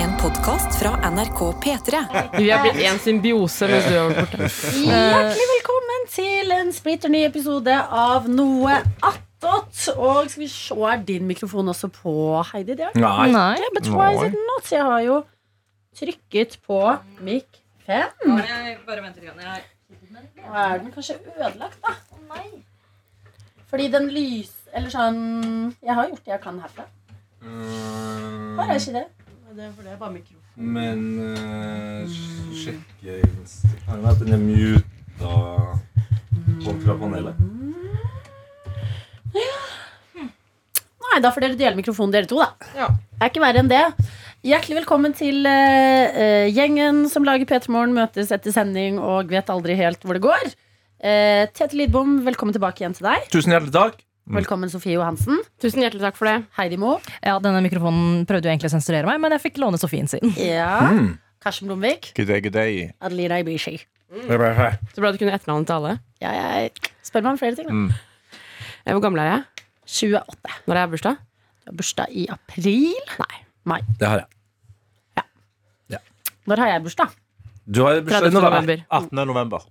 En podkast fra NRK P3. Vi har blitt én symbiose mens du har vært borte. Hjertelig velkommen til en splitter ny episode av Noe attåt. Og skal vi se, er din mikrofon også på, Heidi? Det er den Nei. Nei. ikke, but why is it not? Jeg har jo trykket på mic 5. Og er den kanskje ødelagt, da? Fordi den lys... Eller sånn Jeg har gjort det jeg kan herfra. Har jeg ikke det? Det er fordi jeg bare mikro. Men eh, sj- sjekke Insta- Kan det være at den er muta bort fra panelet? Nei, da får dere dele mikrofonen dere to, da. Ja. Det er ikke verre enn det. Hjertelig velkommen til eh, eh, gjengen som lager P3 Morgen, møtes etter sending og vet aldri helt hvor det går. Eh, Tete Lidbom, velkommen tilbake igjen til deg. Tusen hjertelig takk. Mm. Velkommen Sofie Johansen. Tusen hjertelig takk for det. Heidi Mo. Ja, denne mikrofonen prøvde jo egentlig å sensurere meg, men jeg fikk låne Sofien sin. Ja. Mm. Karsten Blomvik. Good day, good day. Adelina Ibishi. Så bra du kunne etternavnet til alle. Ja, jeg spør meg om flere ting. Mm. da. Eh, Hvor gammel er jeg? 28. Når har jeg bursdag? Du har bursdag i april. Nei. Mai. Det har jeg. Når har jeg bursdag? Du har 30. bursdag i november. november. 18. november.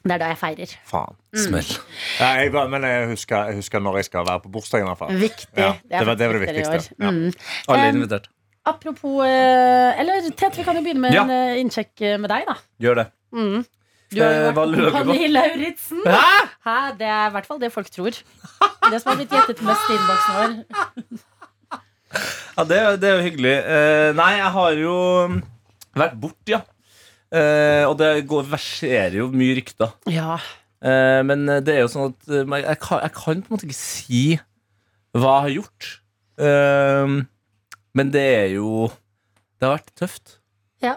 Det er da jeg feirer. Faen. Smell. Nei, jeg, var- men jeg husker, jeg husker når jeg skal være på bursdagen, i hvert fall. Viktig. Ja, det var- det var det faktisk i viktigste, år. ja. Mm. Alle Um, er invitert. Apropos eh, Eller Tete, vi kan jo begynne med Ja. en eh, innsjekk eh, med deg, da. Gjør det. Du har jo Eh, hva vært lurer dere på? kompani Lauritzen. Hæ? Det er i hvert fall det folk tror. Det som har blitt gjettet mest i innboksen vår. Ja, det, er- det er jo hyggelig. Eh, nei, jeg har jo mm, vært bort, ja. Eh, og det går, verserer jo mye rykter. Ja. Eh, men det er jo sånn at eh, men jeg kan, jeg kan på en måte ikke si hva jeg har gjort. Eh, men det er jo Det har vært tøft. Ja.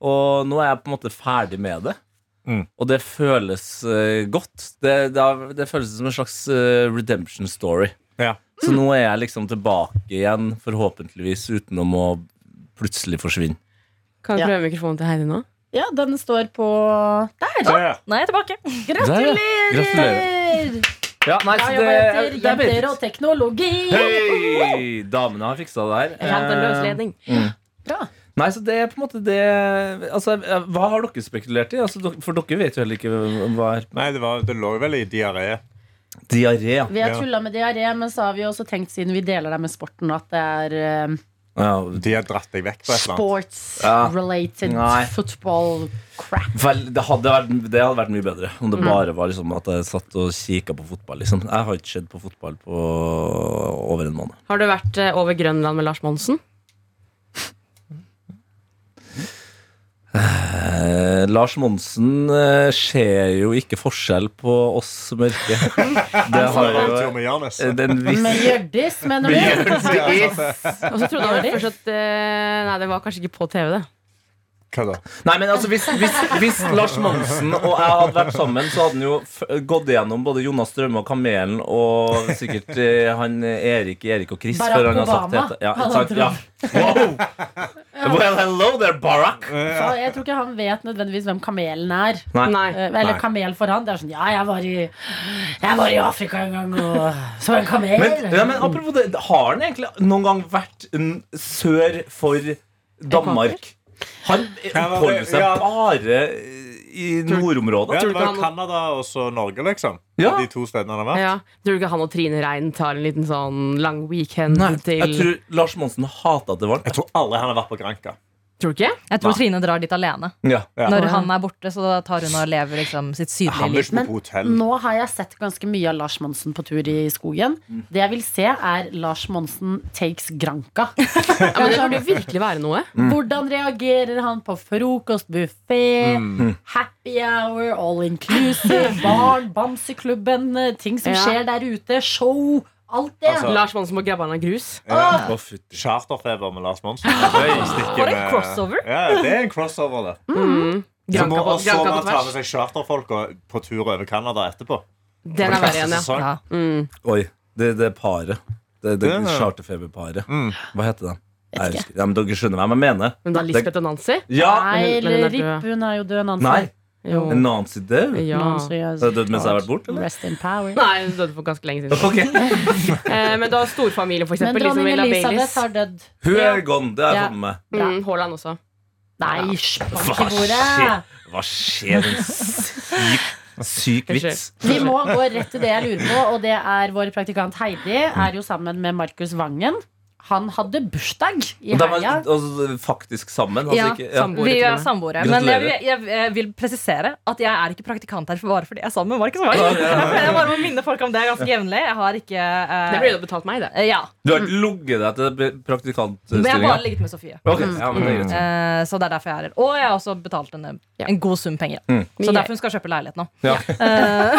Og nå er jeg på en måte ferdig med det. Mm. Og det føles eh, godt. Det, det, har, det føles som en slags eh, redemption story. Ja. Så nå er jeg liksom tilbake igjen, forhåpentligvis, utenom å plutselig forsvinne. Kan Ja. jeg prøve mikrofonen til Heidi nå? ja, den står på der. Ja, ja. Nei, jeg er tilbake. Der, Gratulerer! ja. Gratulerer. Ja, nei, Bra så jobba, Altså, det, jenter. det er Jenter bedre. og teknologi. Hei! Damene har fiksa det her. Jeg hadde en Eh, løsledning. Bra. Nei, så det er på en måte det Altså, hva har dere spekulert i? Altså, dok- for dere vet jo heller ikke hva er Nei, det, var, det lå vel i diaré. Diaré. Ja, Vi har Ja. tulla med diaré, men så har vi jo også tenkt, siden vi deler det med sporten, at det er eh, De har dratt deg vekk på et eller annet. Ja. sports-related Nei. football crap. vel, det, hadde vært, det hadde vært mye bedre om det bare var liksom at jeg satt og kikka på fotball. Liksom. Jeg har ikke sett på fotball på over en måned. Har du vært eh, over Grønland med Lars Monsen? Eh, Lars Monsen eh, ser jo ikke forskjell på oss mørke. Det har Det var en tur jo med Jonas. eh, den visse Med Hjørdis, mener du? Og så trodde han først at eh, Nei, det var kanskje ikke på TV, det. Hva da? Nei, men altså, hvis, hvis, hvis Lars Monsen og jeg hadde vært sammen, så hadde han jo f gått gjennom både Jonas Strømme og Kamelen og sikkert eh, han eh, Erik, Erik og Chris Barack før han har sagt Obama det. Ja, hadde sagt, ja. Wow. Well, hello there, Barack. Så Jeg tror ikke han vet nødvendigvis hvem kamelen er. Nei. Eh, Eller Nei. kamel for han. Det er sånn Ja, jeg var i, jeg var i Afrika en gang, og så en kamel. Men, ja, men apropos det, har han egentlig noen gang vært mm, sør for Danmark? Han eh, Ja, men oppholder det- seg ja. bare eh, i Ja, nordområdet. det du ikke var han- Canada og så Norge, liksom. Ja. De to stedene han har vært. Ja. Tror du ikke han og Trine Rein tar en liten sånn lang weekend Nei, til jeg tror Lars Monsen hater at det er varmt. Jeg tror aldri han har vært på Granca. Tror du ikke? Jeg tror Trine drar dit alene. Ja. Ja. Når han er borte, så da tar hun og lever liksom sitt Han sydlige vil liv. ikke bo på hotell. Nå har jeg sett ganske mye av Lars Monsen på tur i skogen. Mm. Det jeg vil se, er Lars Monsen takes Granca. Ja, men det burde virkelig være noe. Mm. Hvordan reagerer han på frokostbuffé, Mm. happy hour, all inclusive, barn, bamseklubben, eh, ting som Ja. skjer der ute, show, alt det. Altså, Lars Monsen må grabbe han av grus. Ja. Å, fytti. Charterfeber med Lars Monsen. Var Var det en crossover? Ja, det er en crossover, det. Så må Mm. Granka på, også granka man på ta med tvers. seg charterfolka på tur over Canada etterpå. Den er verre igjen, ja. Sesong. Ja. Oi, det, det er paret. Det, det, Det er- charterfeberparet. Hva heter den? Nei, Vet ikke. jeg husker- Ja, men dere skjønner hva jeg mener. Men da Lisbeth og Nancy? Ja! Nei, Men hun er Ripp, død. hun er jo død, Nancy. Nei, Jo. En Nancy død? Ja. Er død mens jeg har vært borte, eller? Rest in power. Nei, hun døde for ganske lenge siden. Ok, Eh, men du har storfamilie, for Men eksempel. Liksom dronning Ella Baileys. Elisabeth har dødd. Hun er gone, det har jeg Ja. fått med meg. Mm, Haaland også. Nei, spank Hva i skjer? bordet! Hva skjer? En syk, syk vits. Vi må gå rett til det jeg lurer på, og det er vår praktikant Heidi er jo sammen med Markus Vangen. Han hadde bursdag i Og de er helga. altså, faktisk sammen. Altså, Ja, ikke, samboer. Vi er Gratulerer. samboere. Men jeg, Gratulerer. jeg, jeg vil presisere at jeg er ikke praktikant her for bare fordi jeg er sammen med Markus Wang. Ja, ja, ja. Jeg bare må minne folk om det ganske jevnlig. Jeg har ikke eh, Det ble jo betalt meg, det. eh, Ja. Du har ikke ligget deg til Men jeg har praktikantstillinga? bare ligget med Sofie. Ok, ja, men det er greit. Eh, Så det er derfor jeg er her. Og jeg har også betalt henne Ja. en god sum penger. Mm. Så derfor hun skal kjøpe leilighet nå. Ja.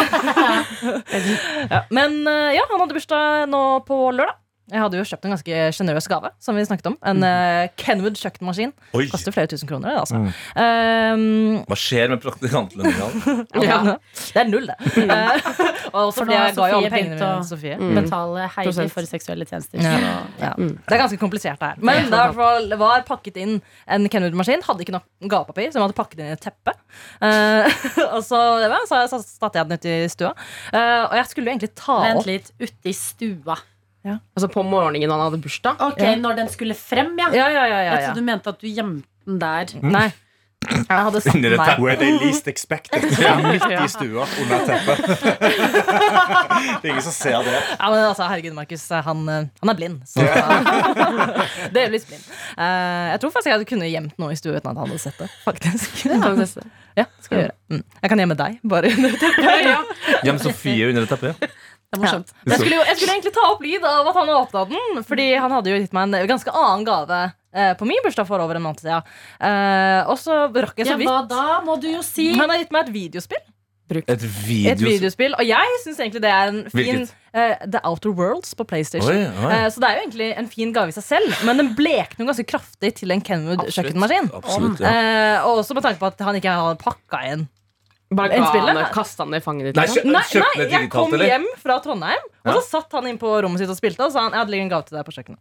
Eh, ja. Men eh, ja, han hadde bursdag nå på lørdag. Jeg hadde jo kjøpt en ganske sjenerøs gave. Som vi snakket om En eh, Kenwood kjøkkenmaskin. Mm. Oi, Mm. Koster flere tusen kroner. det, Altså. Eh, hva skjer med praktikantlønningene? ja. Ja. Det er null, det. Eh, og Mm. For nå fordi har jeg ga jo alle Sofie pengene begynt mine å- Mm. til Sofie. Betale Heidi Prosent. for seksuelle tjenester. Ja. Ja. Mm. Det er ganske komplisert, det her. Men det var i hvert fall- var pakket inn en Kenwood-maskin. Hadde ikke nok gavepapir, så de hadde pakket inn i et teppe. Eh, og så, ja, så, så satte jeg den ut i stua. Eh, og jeg skulle jo egentlig ta Vent opp litt. Uti stua. Altså på morgenen han hadde bursdag. Ok, Når den skulle frem, ja. Ja, ja, ja, ja, Jeg ja. trodde du mente at du gjemte den der. Nei. Jeg hadde satt Under den et der. Where they least expected. Midt i stua, under teppet. Det er ingen som ser det. Ja, men altså, herregud, Markus. Han, eh, han er blind. Så delvis blind. Eh, jeg tror faktisk jeg hadde kunne gjemt noe i stua uten at han hadde sett det. Faktisk. Kan vi teste? Ja, skal jeg gjøre. Mm. Jeg kan gjemme deg, bare under Gjem Sofie under et teppe. Det er morsomt. Men Jeg skulle, jo, jeg skulle egentlig ta opp lyd av at han har åpna den, fordi han hadde jo gitt meg en ganske annen gave eh, på min bursdag for over en måned siden. Eh, og så rakk jeg Ja, så hva vidt. da, må du jo si? Han har gitt meg et videospill. Et Et video... videospill Og jeg syns egentlig det er en fin Hvilket? eh, The Outer Worlds på PlayStation. Oi, oi. Eh, så det er jo egentlig en fin gave i seg selv, men den blekner jo ganske kraftig til en Kenwood Eh, kjøkkenmaskin. Absolutt. Ja. Eh, og også med tanke på at han ikke har pakka igjen Bare En ga spiller? han kasta han ned i fanget ditt? Nei, liksom? kjø Nei, kjøpte nei det jeg kom digitalt, eller? hjem fra Trondheim, og så satt han inn på rommet sitt og spilte, og sa han, jeg hadde ligget en gave til deg på kjøkkenet.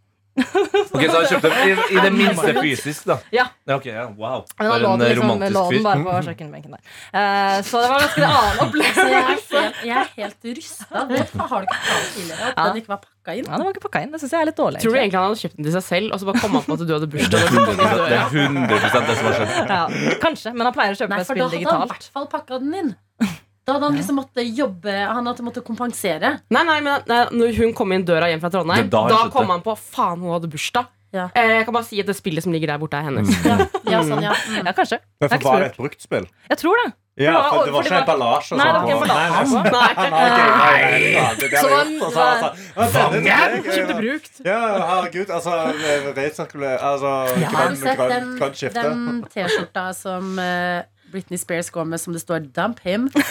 Ok, så han kjøpte i, I det minste fysisk, da. Ja. ok, ja, Wow. Men han For lå en den eh, liksom, lå romantisk den fyr. bare på kjøkkenbenken der. Eh, så det var ganske en annen opplevelse. Så jeg er helt, jeg er helt rysta. Hvorfor har du ikke fortalt tidligere at Ja. den ikke var pakka inn? Ja, det var ikke pakka inn. Det syns jeg er litt dårlig. Tror du egentlig. egentlig han hadde kjøpt den til seg selv, og så bare kom han på at du hadde Det bursdag? er 100%, det er 100 det som har skjedd. Ja, kanskje, men han pleier å kjøpe Nei, et for da spill hadde han i digitalt. hvert fall pakka den inn. Da hadde han liksom måttet jobbe Han hadde måttet kompensere. Nei, nei, men nei, når hun kom inn døra hjem fra Trondheim, Det er da da, han skjønte. kom han på faen, hun hadde bursdag. Ja. Eh, jeg kan bare si at det spillet som ligger der borte, er Mm. hennes. Ja, ja sånn, ja. Mm. Ja, kanskje. Jeg Men for er ikke var det spurt. et brukt spill? Jeg tror det. Ja, Ja, for det var for det ikke var- emballasje og Nei, sånn det var ikke på- emballasje. Nei, Nei, nei, Ah, ok, nei, nei, nei, det der var gjort, og så var det sånn, «Å, denne fikk jeg, Kjøpte jeg». brukt. Ja, herregud. Altså, resirkulere Har Altså, du grønn, sett grønn, den, grønt skifte. den T-skjorta som eh, Britney Spears går med som det står 'dump him'? Mm,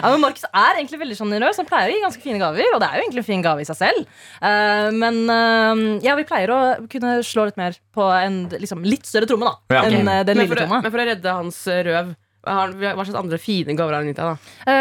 Ja, men Markus er egentlig veldig sjenerøs. Han pleier å gi ganske fine gaver, og det er jo egentlig en fin gave i seg selv. Eh, men eh, ja, vi pleier å kunne slå litt mer på en liksom, litt større tromme, da. Ja. Enn eh, den Men for, lille å, tromma. men for å redde hans eh, røv, har, hva slags andre fine gaver har han gitt deg? da?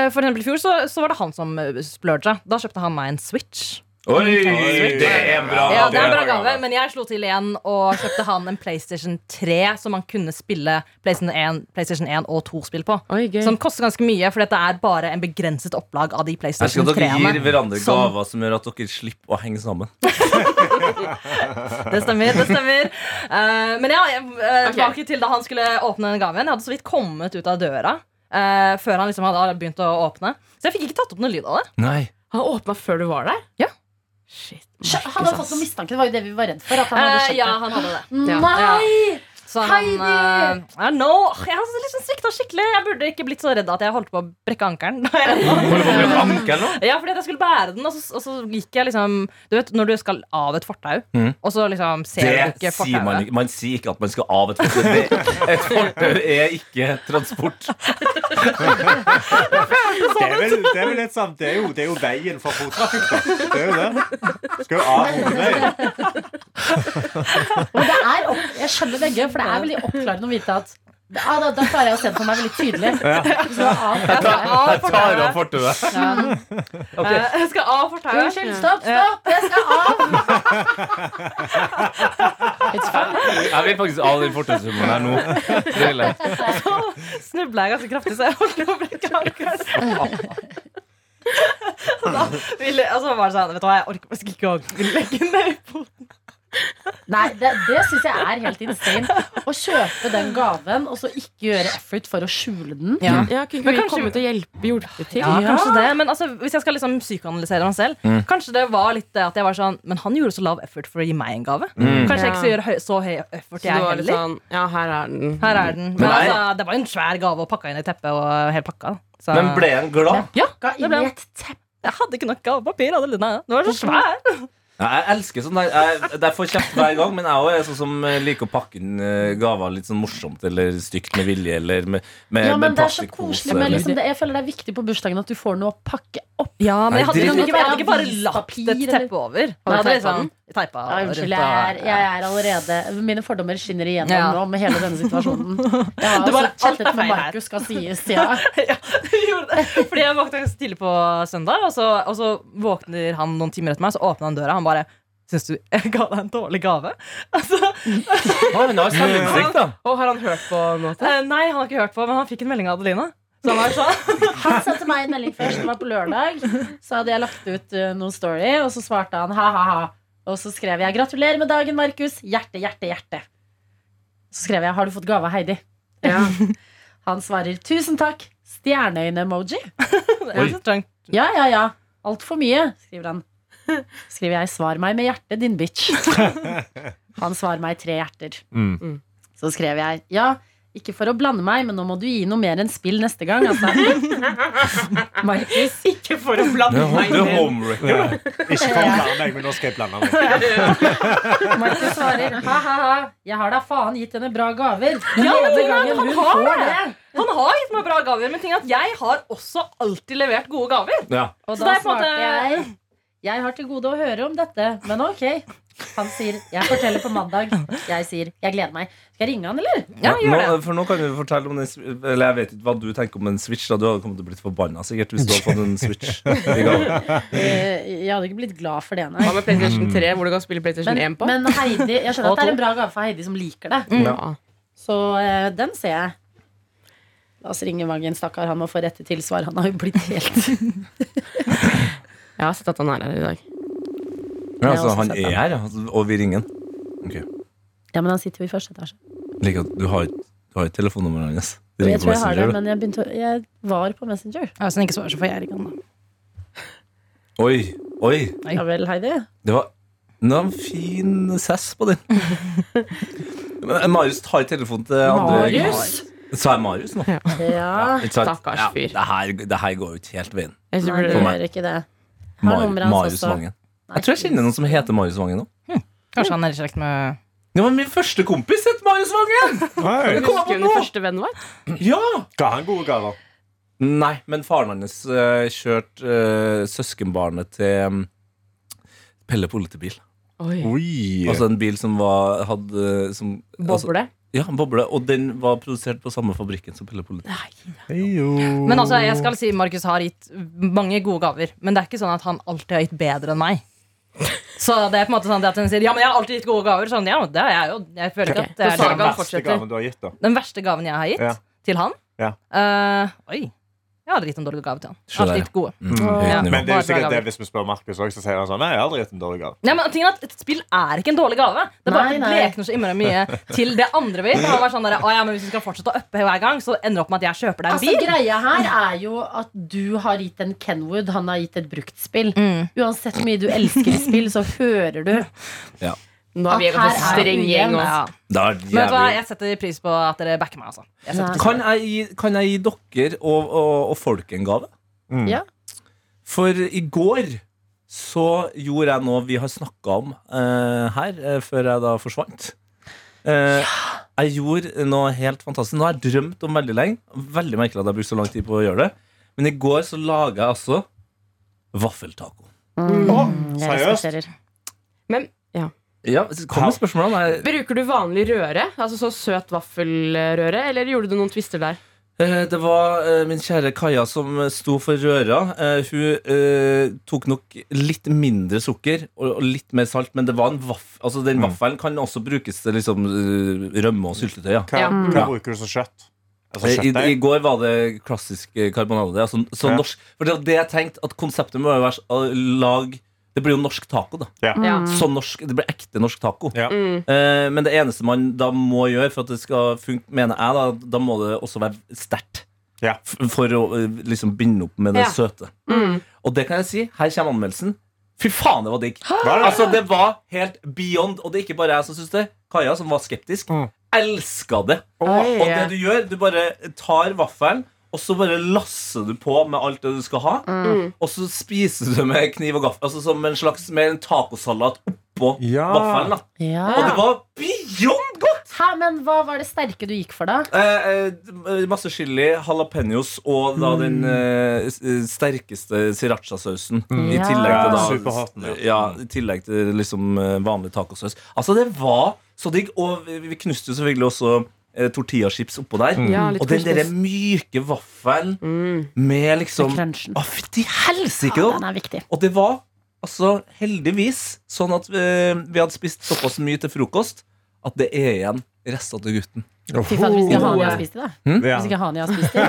Eh, for eksempel i fjor så, så var det han som eh, splurga. Da kjøpte han meg en Switch. Oi, det er en bra Ja, det er en bra det var gave, gave. men jeg slo til igjen og kjøpte han en PlayStation 3 som man kunne spille PlayStation 1, PlayStation 1 og 2-spill på. Oi, gøy. Som koster ganske mye, for dette er bare en begrenset opplag av de Jeg PlayStation skal at dere 3-ene. gir hverandre som- gaver som gjør at dere slipper å henge sammen. Det stemmer. det stemmer Eh, Men ja, jeg, eh, Ok. tilbake til da han skulle åpne den gaven. Jeg hadde så vidt kommet ut av døra eh, før han liksom hadde begynt å åpne. Så jeg fikk ikke tatt opp noe lyd av det. Nei. Han åpna før du var der? Ja. Shit. Han hadde fått noen mistanke, det var jo det vi var redd for. At han hadde Eh, skjønt ja, det. han hadde det. Ja. Nei! Så han, Heidi! eh, I know. Jeg har liksom svikta skikkelig. Jeg burde ikke blitt så redd at jeg holdt på å brekke ankelen. da jeg- Holder på å bli et ankel nå? ja, fordi at jeg skulle bære den, og så, og så gikk jeg liksom Du vet når du skal av et fortau, Mhm. og så liksom ser Det du ikke sier man fortauet. ikke. Man sier ikke at man skal av et fortau. Det- Et fortau er ikke transport. Det er vel, det er vel litt sånn Det er jo, det er jo veien for fottrafikk, da. Det er jo det. Skal jo av hovedveien. Og det er opp, jeg skjønner begge, for det er veldig oppklarende å vite at ja, da, da klarer jeg å se det for meg veldig tydelig. Så, ah, Av Jeg tar av fortauet. fortauet. Ja. Ok. Eh, Jeg skal av fortauet. Unnskyld, stopp, stopp! Jeg skal av! Jeg vil faktisk av den fortaushumoren her nå. Det vil jeg. Så snubla jeg ganske kraftig, så jeg holdt på å brekke ankelen. Og da ville, og så var det sånn Vet du hva, jeg orker faktisk ikke å legge ned i poten. Nei, det, det syns jeg er helt insane. Å kjøpe den gaven og så ikke gjøre effort for å skjule den. Ja. Ja, kunne ikke Men vi kanskje- kommet og hjelpe, hjulpet til? Ja, kanskje det, men altså, hvis jeg skal liksom psykoanalysere meg selv Mm. Kanskje det var litt det at jeg var sånn Men han gjorde så lav effort for å gi meg en gave Mm. Kanskje jeg ikke skal Ja. gjøre høy, så liksom høy effort Så jeg du var litt heller sånn Ja, her er den. Her er den Men men, nei. altså, Det var jo en svær gave og pakka inn i teppet og hele pakka da. så, Men ble han glad? Ja, Ga det inn ble i han et teppe. Eh, Jeg hadde ikke nok gavepapir, Adelina Det var så svær Ja, jeg elsker sånn der. Jeg, jeg får kjeft hver gang, men jeg også er sånn som eh, liker å pakke inn eh, gaver litt sånn morsomt eller stygt med vilje eller med, med, Ja, men med det er så plastikkpose, koselig med eller- liksom, det, Jeg føler det er viktig på bursdagen at du får noe å pakke opp. Ja, men Nei, jeg hadde, det- liksom ikke, jeg hadde ikke bare lagt Avispapir, et eller- teppe over Hadde Jeg hadde du teipet liksom Teipa Ja, unnskyld, jeg rundt er, og- jeg er allerede Mine fordommer skinner igjennom Ja. nå med hele denne situasjonen. Jeg har Det var også alt er chattet med feil her. Markus, skal sies. Ja. ja, vi gjorde det. Fordi jeg våkna ganske tidlig på søndag, og så, og så våkner han noen timer etter meg, så åpner han døra. Han bare Syns du jeg ga deg en dårlig gave? Altså, Å, men det var selvinnsikt, da. Og har han hørt på nå? eh, nei, han har ikke hørt på, men han fikk en melding av Adelina. Så han var sånn Han sendte meg en melding først, det var på lørdag. Så hadde jeg lagt ut uh, noen story, og så svarte han ha-ha-ha. Og så skrev jeg 'Gratulerer med dagen, Markus'. Hjerte, hjerte, hjerte. Så skrev jeg 'Har du fått gave av Heidi?' Ja. Han svarer 'Tusen takk'. Stjerneøyne-emoji. det er så trangt. Ja, ja, ja. Altfor mye, skriver han. Skriver jeg 'Svar meg med hjertet, din bitch'. Han svarer meg tre hjerter. Mm. Mm. Så skrev jeg 'Ja, ikke for å blande meg, men nå må du gi noe mer enn spill neste gang', altså. Markus. Ikke for å blande meg Det er inn. homewrecker. Ja. Ikke for å blande meg, men nå skal jeg blande meg. Markus svarer ha-ha-ha, jeg har da faen gitt henne bra gaver. Den men ene det er gangen han hun har får det. det. Han har gitt meg bra gaver, men ting er at jeg har også alltid levert gode gaver. Ja. Og Så da det er på en svarte måte- jeg jeg har til gode å høre om dette, men ok. Han sier jeg forteller på mandag. Jeg sier jeg gleder meg. Skal jeg ringe han, eller? Ja, gjør det. nå, for nå kan du fortelle om den sw- Eller jeg vet ikke hva du tenker om den Switch. da Du hadde kommet til å blitt forbanna sikkert hvis du hadde fått en Switch. i gave. Eh, Jeg hadde ikke blitt glad for det, nei. Hva med PlayStation 3, hvor du kan spille PlayStation 1 Men, på? men Heidi, jeg skjønner Og at det er to. en bra gave for Heidi som liker det. Ja. Så eh, den ser jeg. La oss ringe Vangen, stakkar. Han må få rette tilsvar. Han har jo blitt helt Jeg har sett at han er her i dag. Ja, altså, han er her, ja, altså, og vi ringer han. Ok. Ja, men han sitter jo i første etasje. Like at du har ikke du har ikke telefonnummeret hans. Du Jeg ringer på tror jeg har det, Messenger, du. men jeg, begynte, å- jeg var på Messenger. Ja, Hvis han ikke svarer, så får jeg ringe han. da. Oi, oi. Ja vel, Heidi. Det var det var en fin sess på den. Men eh, Marius tar telefonen til andre Marius? Ah, Sa jeg Marius nå? Ja. Ikke sant? Stakkars fyr. det, her, det her går jo ikke helt veien. Jeg Nei, tror du det, meg. gjør ikke det. Har Mar nummeret hans Marius også. Vangen. Nei. Jeg tror jeg kjenner noen som heter Marius Vangen nå. Kanskje han er i slekt med Det var min første kompis het Marius Vangen! Oi, Kom Husker på du den nå! første vennen vår? Ja! Ga han gode gaver? Nei, men faren hans uh, kjørte eh, søskenbarnet til um, Pelle Politebil. Oi. Oi. Altså en bil som var hadde, eh, som, altså, Boble? Ja, boble. Og den var produsert på samme fabrikken som Pelle Politi. Men altså, jeg skal si Markus har gitt mange gode gaver, men det er ikke sånn at han alltid har gitt bedre enn meg. Så det er på en måte sånn det at hun sier Ja, men jeg har alltid gitt gode gaver. Sånn, ja, men det har jeg jo. Jeg føler ikke at Så det er Den saga det. beste fortsetter. gaven du har gitt, da? Den verste gaven jeg har gitt Ja. til han Ja. eh, Oi. Jeg har aldri gitt en dårlig gave til han. Jeg Se har der, alltid gitt gode. Mm, høyt Ja. nivå. Men det er jo Bare bra sikkert det gaver. hvis vi spør Markus òg, så sier han sånn Nei, jeg har aldri gitt en dårlig gave. Nei, men tingen er at Et spill er ikke en dårlig gave. Det er Nei, bare at det nei. blekner så innmari mye til det andre vi. Han var sånn der, å, ja, men Hvis vi skal fortsette å uppe hver gang, så ender det opp med at jeg kjøper deg en Altså, bil. greia her er jo at du har gitt en Kenwood, han har gitt et bruktspill. Uansett hvor mye du elsker spill, så hører du. Nå er vi At en ganske her er streng ujevn. gjeng. Ja. ass. Det er Men vet du hva, jævlig. jeg setter pris på at dere backer meg. altså Jeg setter Nei. Kan jeg, gi- kan jeg gi dere og, og, og folk en gave? Mm. Ja. For i går så gjorde jeg noe vi har snakka om eh, her, eh, før jeg da forsvant. Eh, Jeg gjorde noe helt fantastisk. Nå har jeg drømt om veldig lenge. Veldig merkelig at jeg brukte så lang tid på å gjøre det. Men i går så laga jeg altså vaffeltaco. Mm. Å, Jeg seriøst? respekterer. Ja, kom med spørsmålene. Jeg, Bruker du vanlig røre? Altså så søt vaffelrøre? Eller gjorde du noen twister der? Eh, Det var eh, min kjære Kaja som eh, sto for røra. Eh, Hun eh, tok nok litt mindre sukker og og litt mer salt, men det var en vaff altså, Mm. den vaffelen kan også brukes til liksom, eh, rømme og syltetøy. Ja. Hva, Ja. hva bruker du som kjøtt? Altså, I, I kjøttdeig. går var det klassisk eh, karbonade. Altså, så Ja. norsk, for det var det jeg tenkte at konseptet må jo være så- å lag Det blir jo norsk taco, da. Ja. Så norsk, det blir ekte norsk taco. Ja. Mm. Eh, men det eneste man da må gjøre for at det skal funke, mener jeg, da, da må det også være sterkt. Ja. F- For å eh, liksom binde opp med det Ja. søte. Mm. Og det kan jeg si. Her kommer anmeldelsen. Fy faen, det var digg! Var det? Altså, det var helt beyond. Og det er ikke bare jeg som syns det. Kaja, som var skeptisk, Mm. elska det. Og det du gjør, du bare tar vaffelen, og så bare lasser du på med alt det du skal ha. Mm. Og så spiser du med kniv og gaffel. Altså som en slags med en tacosalat oppå Ja. vaffelen. da. Og det var beyond godt! Hæ, men hva var det sterke du gikk for, da? Eh, eh, masse chili, jalapeños og da den eh, s- eh, sterkeste srirachasausen. Ja. I Mm. tillegg til da Superhot, ja. ja, i tillegg til liksom eh, vanlig tacosaus. Altså, det var så digg. Og vi- vi knuste jo selvfølgelig også eh, tortillachips oppå der. Mm. Ja, litt Og den derre couscous. myke vaffelen Mm. med liksom Crunchen. Å, fytti helsike! Ja, da. den er viktig. Og det var altså heldigvis sånn at eh, vi hadde spist såpass mye til frokost at det er igjen rester til gutten. Fy fader, hvis ikke Oh. han jeg har spist i, da. Mm. Ja. Hvis ikke han jeg har spist i.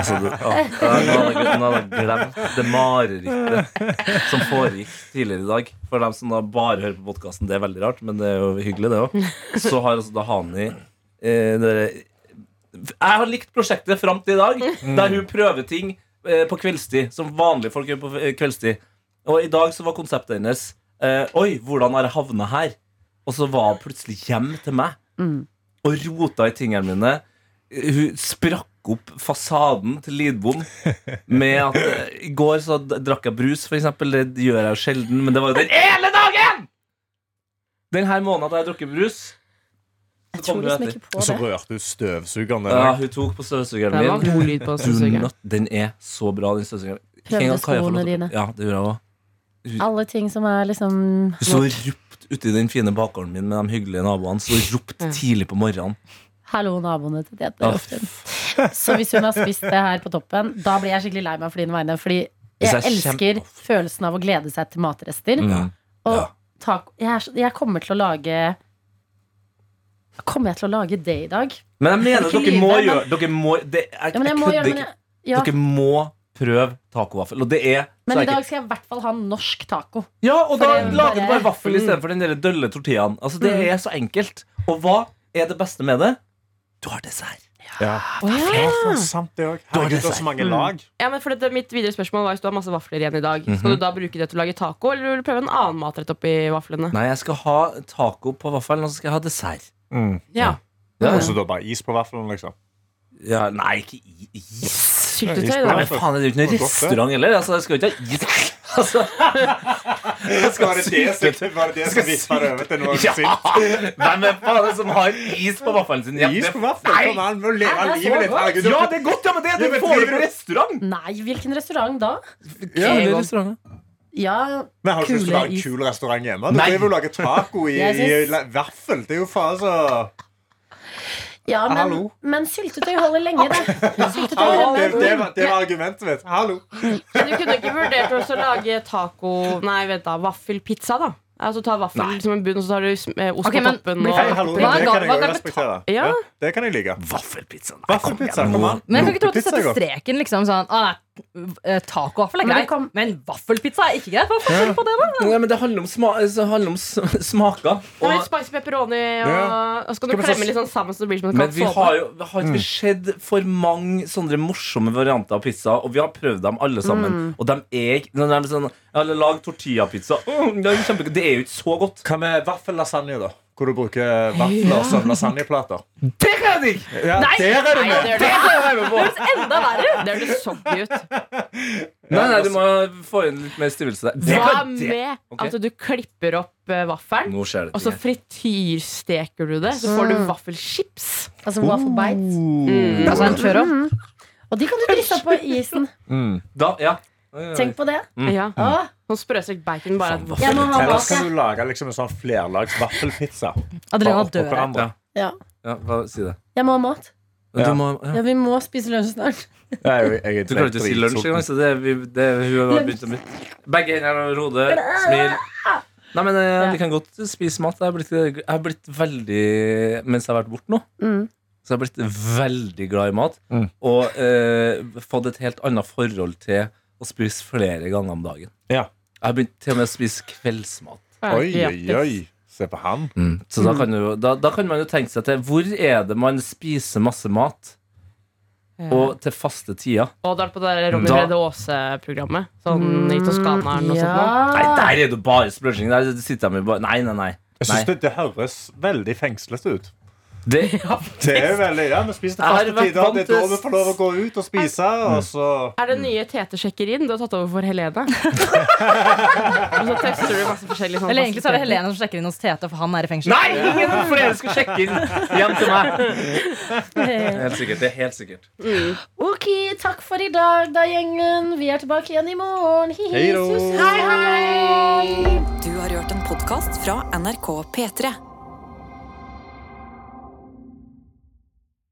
Altså, det, ja. Nå hadde jeg- nå hadde jeg glemt det marerittet som foregikk tidligere i dag. For dem som da bare hører på podkasten, det er veldig rart, men det er jo hyggelig, det òg. Så har altså da Hani eh, det- Jeg har likt prosjektet fram til i dag, der hun prøver ting eh, på kveldstid, som vanlige folk gjør på eh, kveldstid. Og i dag så var konseptet hennes eh, Oi, hvordan har jeg havna her? Og så var hun plutselig hjem til meg Mm. og rota i tingene mine. Hun sprakk opp fasaden til Lidbom med at eh, I går så d- drakk jeg brus, for eksempel. Det gjør jeg jo sjelden, men det var jo den ene dagen! Den her måneden har jeg drukket brus. Jeg tror liksom ikke på Og så det. rørte du støvsugeren der. Ja, hun tok på støvsugeren Det var min. god lyd på Do støvsugeren. not- Den er så bra, den støvsugeren. Prøvde En gang Kaja får skoene lov til- dine. Ja, det gjorde jeg også. Alle ting som er liksom Hun så ropt uti den fine bakgården min med de hyggelige naboene. Så ropt tidlig på morgenen. Hallo, naboene til Mm. det. det Ja. er ofte. Så hvis hun har spist det her på toppen, da blir jeg skikkelig lei meg for dine vegne. Fordi Hvis jeg jeg elsker kjem- følelsen av å glede seg til matrester. Mm. Og Ja. taco jeg, er så- jeg kommer til å lage Kommer jeg til å lage det i dag? Men jeg mener Ikke dere må lyve, men- gjøre dere må, det, jeg, Ja, men jeg må kødder gjøre det. ikke. Men, jeg, ja. Dere må prøve tacovaffel. Og det er så men i enkelt. dag skal jeg i hvert fall ha norsk taco. Ja, og da For det- lager du bare bare- Mm. vaffel istedenfor den der dølle tortillaen. Altså, det er så enkelt. Og hva er det beste med det? Du har dessert. Ja. Ja, faen, sant det òg. Herregud, det er så mange lag. Ja, men for dette, mitt videre spørsmål var Hvis du har masse vafler igjen i dag, Mhm. skal du da bruke det til å lage taco, eller vil du prøve en annen matrett oppi vaflene? Nei, jeg skal ha taco på vaffelen, og så skal jeg ha dessert. Ja. Ja, Og Mm. så da bare is på vaffelen, liksom. ja, nei, ikke i- is. Syltetøy, Nei, da. men faen, det er jo ikke Det var noen godt, det. restaurant heller. Altså, jeg skal jo ikke ha is. Altså, Var det det som- var det det som vippa det over til noe ja. sint? Hvem er faen det som har is på vaffelen sin? Ja, Is det- på vaffelen? Nei. Kom an, må leve det er så livet ditt. godt. Herregud, Ja, det er godt, ja, men det, Ja, det men får du driver på du- restaurant. Nei, hvilken restaurant da? Mm. Egon. Ja, Men har du ikke lyst til Kule å lage en is. kul restaurant hjemme? Du Nei. driver jo og lager taco i, Jeg i synes- la- vaffel. Det er jo faen så ja men, Hallo? men syltetøy holder lenge, det. Syltetøy Hallo, holder det, det, lenge. var, det var argumentet mitt. Hallo. Men du kunne ikke vurdert også å lage taco Nei, vent da, vaffelpizza, da. Altså ta vaffel som en bunn, og så tar du sm- eh, ost Ok, på men- toppen. blir Og... Hei, hallo. Hva er Det gal- kan jeg hva er jo gal- respektere. Ja. det kan jeg like. Vaffelpizza. nei, kom Vaffelpizza. igjen, Kom nå. an. Men jeg kan ikke tro at du Pizza er setter godt. streken liksom sånn ah, nei, eh, Tacovaffel er Men det greit, men, kom- vaffelpizza er ikke greit. Hva er forskjellen på det, da? Nei, men det handler om, sma altså, det handler om s- smaker. Nei, Og, spicy pepperoni, og, Ja. og skal Skal du vi klemme så- litt sånn sammen så det blir som en men vi kaldt har jo vi har ikke sett for mange sånne morsomme varianter av pizza, og vi har prøvd dem alle sammen. Og de er ikke når de er sånn, Eller lag tortillapizza. Mm, det, er kjempegodt. det er jo ikke så godt. Hva med vaffellasagne, da? Hvor du bruker vafler som lasagneplater. Det kan jeg digge! Ja, der er du med! det, er det. Det er jeg med på. Enda verre! det er det soggy ut. Nei, nei, du må få inn litt mer stivelse der. Det Hva kan- det- med Ok. at du klipper opp eh, vaffelen, Nå skjer det og så ting. frityrsteker du det, så får du Mm. vaffelchips? Altså Oh. waffle bites. Mm. Mm. Altså, en churro. Og de kan du drisse opp på isen. Da, ja. Tenk på det. Ja. Mm. Åh, Sånn sprøstekt bacon, bare Mm. Faen, at vaffel. jeg må ha Ellers bak. kan du lage liksom en sånn flerlags vaffelpizza. Adelina Oppå dør. hverandre. Ja. ja, hva, si det. Jeg må ha mat. Du må, ja. Ja, vi må spise lunsj snart. Jeg er jo- jeg er Du klarer ikke å si lunsj engang, så det, er vi, det er hun har begynt å bli Begge hender og hodet, smil. Nei, men eh, Vi kan godt spise mat. Jeg har blitt, jeg har blitt veldig Mens jeg har vært borte nå, Mm. Så jeg har blitt veldig glad i mat. Mm. Og eh, fått et helt annet forhold til å spise flere ganger om dagen. Ja. Jeg har begynt til og med å spise kveldsmat. Oi, Grattis. oi, oi. Se på han. Så da kan, jo, da, da kan man jo tenke seg til hvor er det man spiser masse mat, Ja. og til faste tider. Og da er det på det der Ronny Da- Brede Aase-programmet. Sånn i Mm, Toskana eller noe sånt. nå. Nei, der er det bare spløsing! Der sitter de i bare Nei, nei, nei. Jeg Nei. synes det, det høres veldig fengslete ut. Det, Det er veldig, ja, Vi spiser Jeg til har faste vært tider. vant Det er da til- vi får lov å gå ut og spise. Og så Er det nye Tete-sjekkerin du har tatt over for Helene? og så tester du masse forskjellige sånne Eller egentlig så er fasiliteter. det Helene som sjekker inn hos Tete, for han er i fengsel. nei! Ingen flere skal sjekke inn hjem til meg! Helt sikkert, det er helt sikkert. Ok, takk for i dag, da, gjengen. Vi er tilbake igjen i morgen. Hi, hi, Hei då. sus, sus. hei. hei. Du har hørt en podkast fra NRK P3.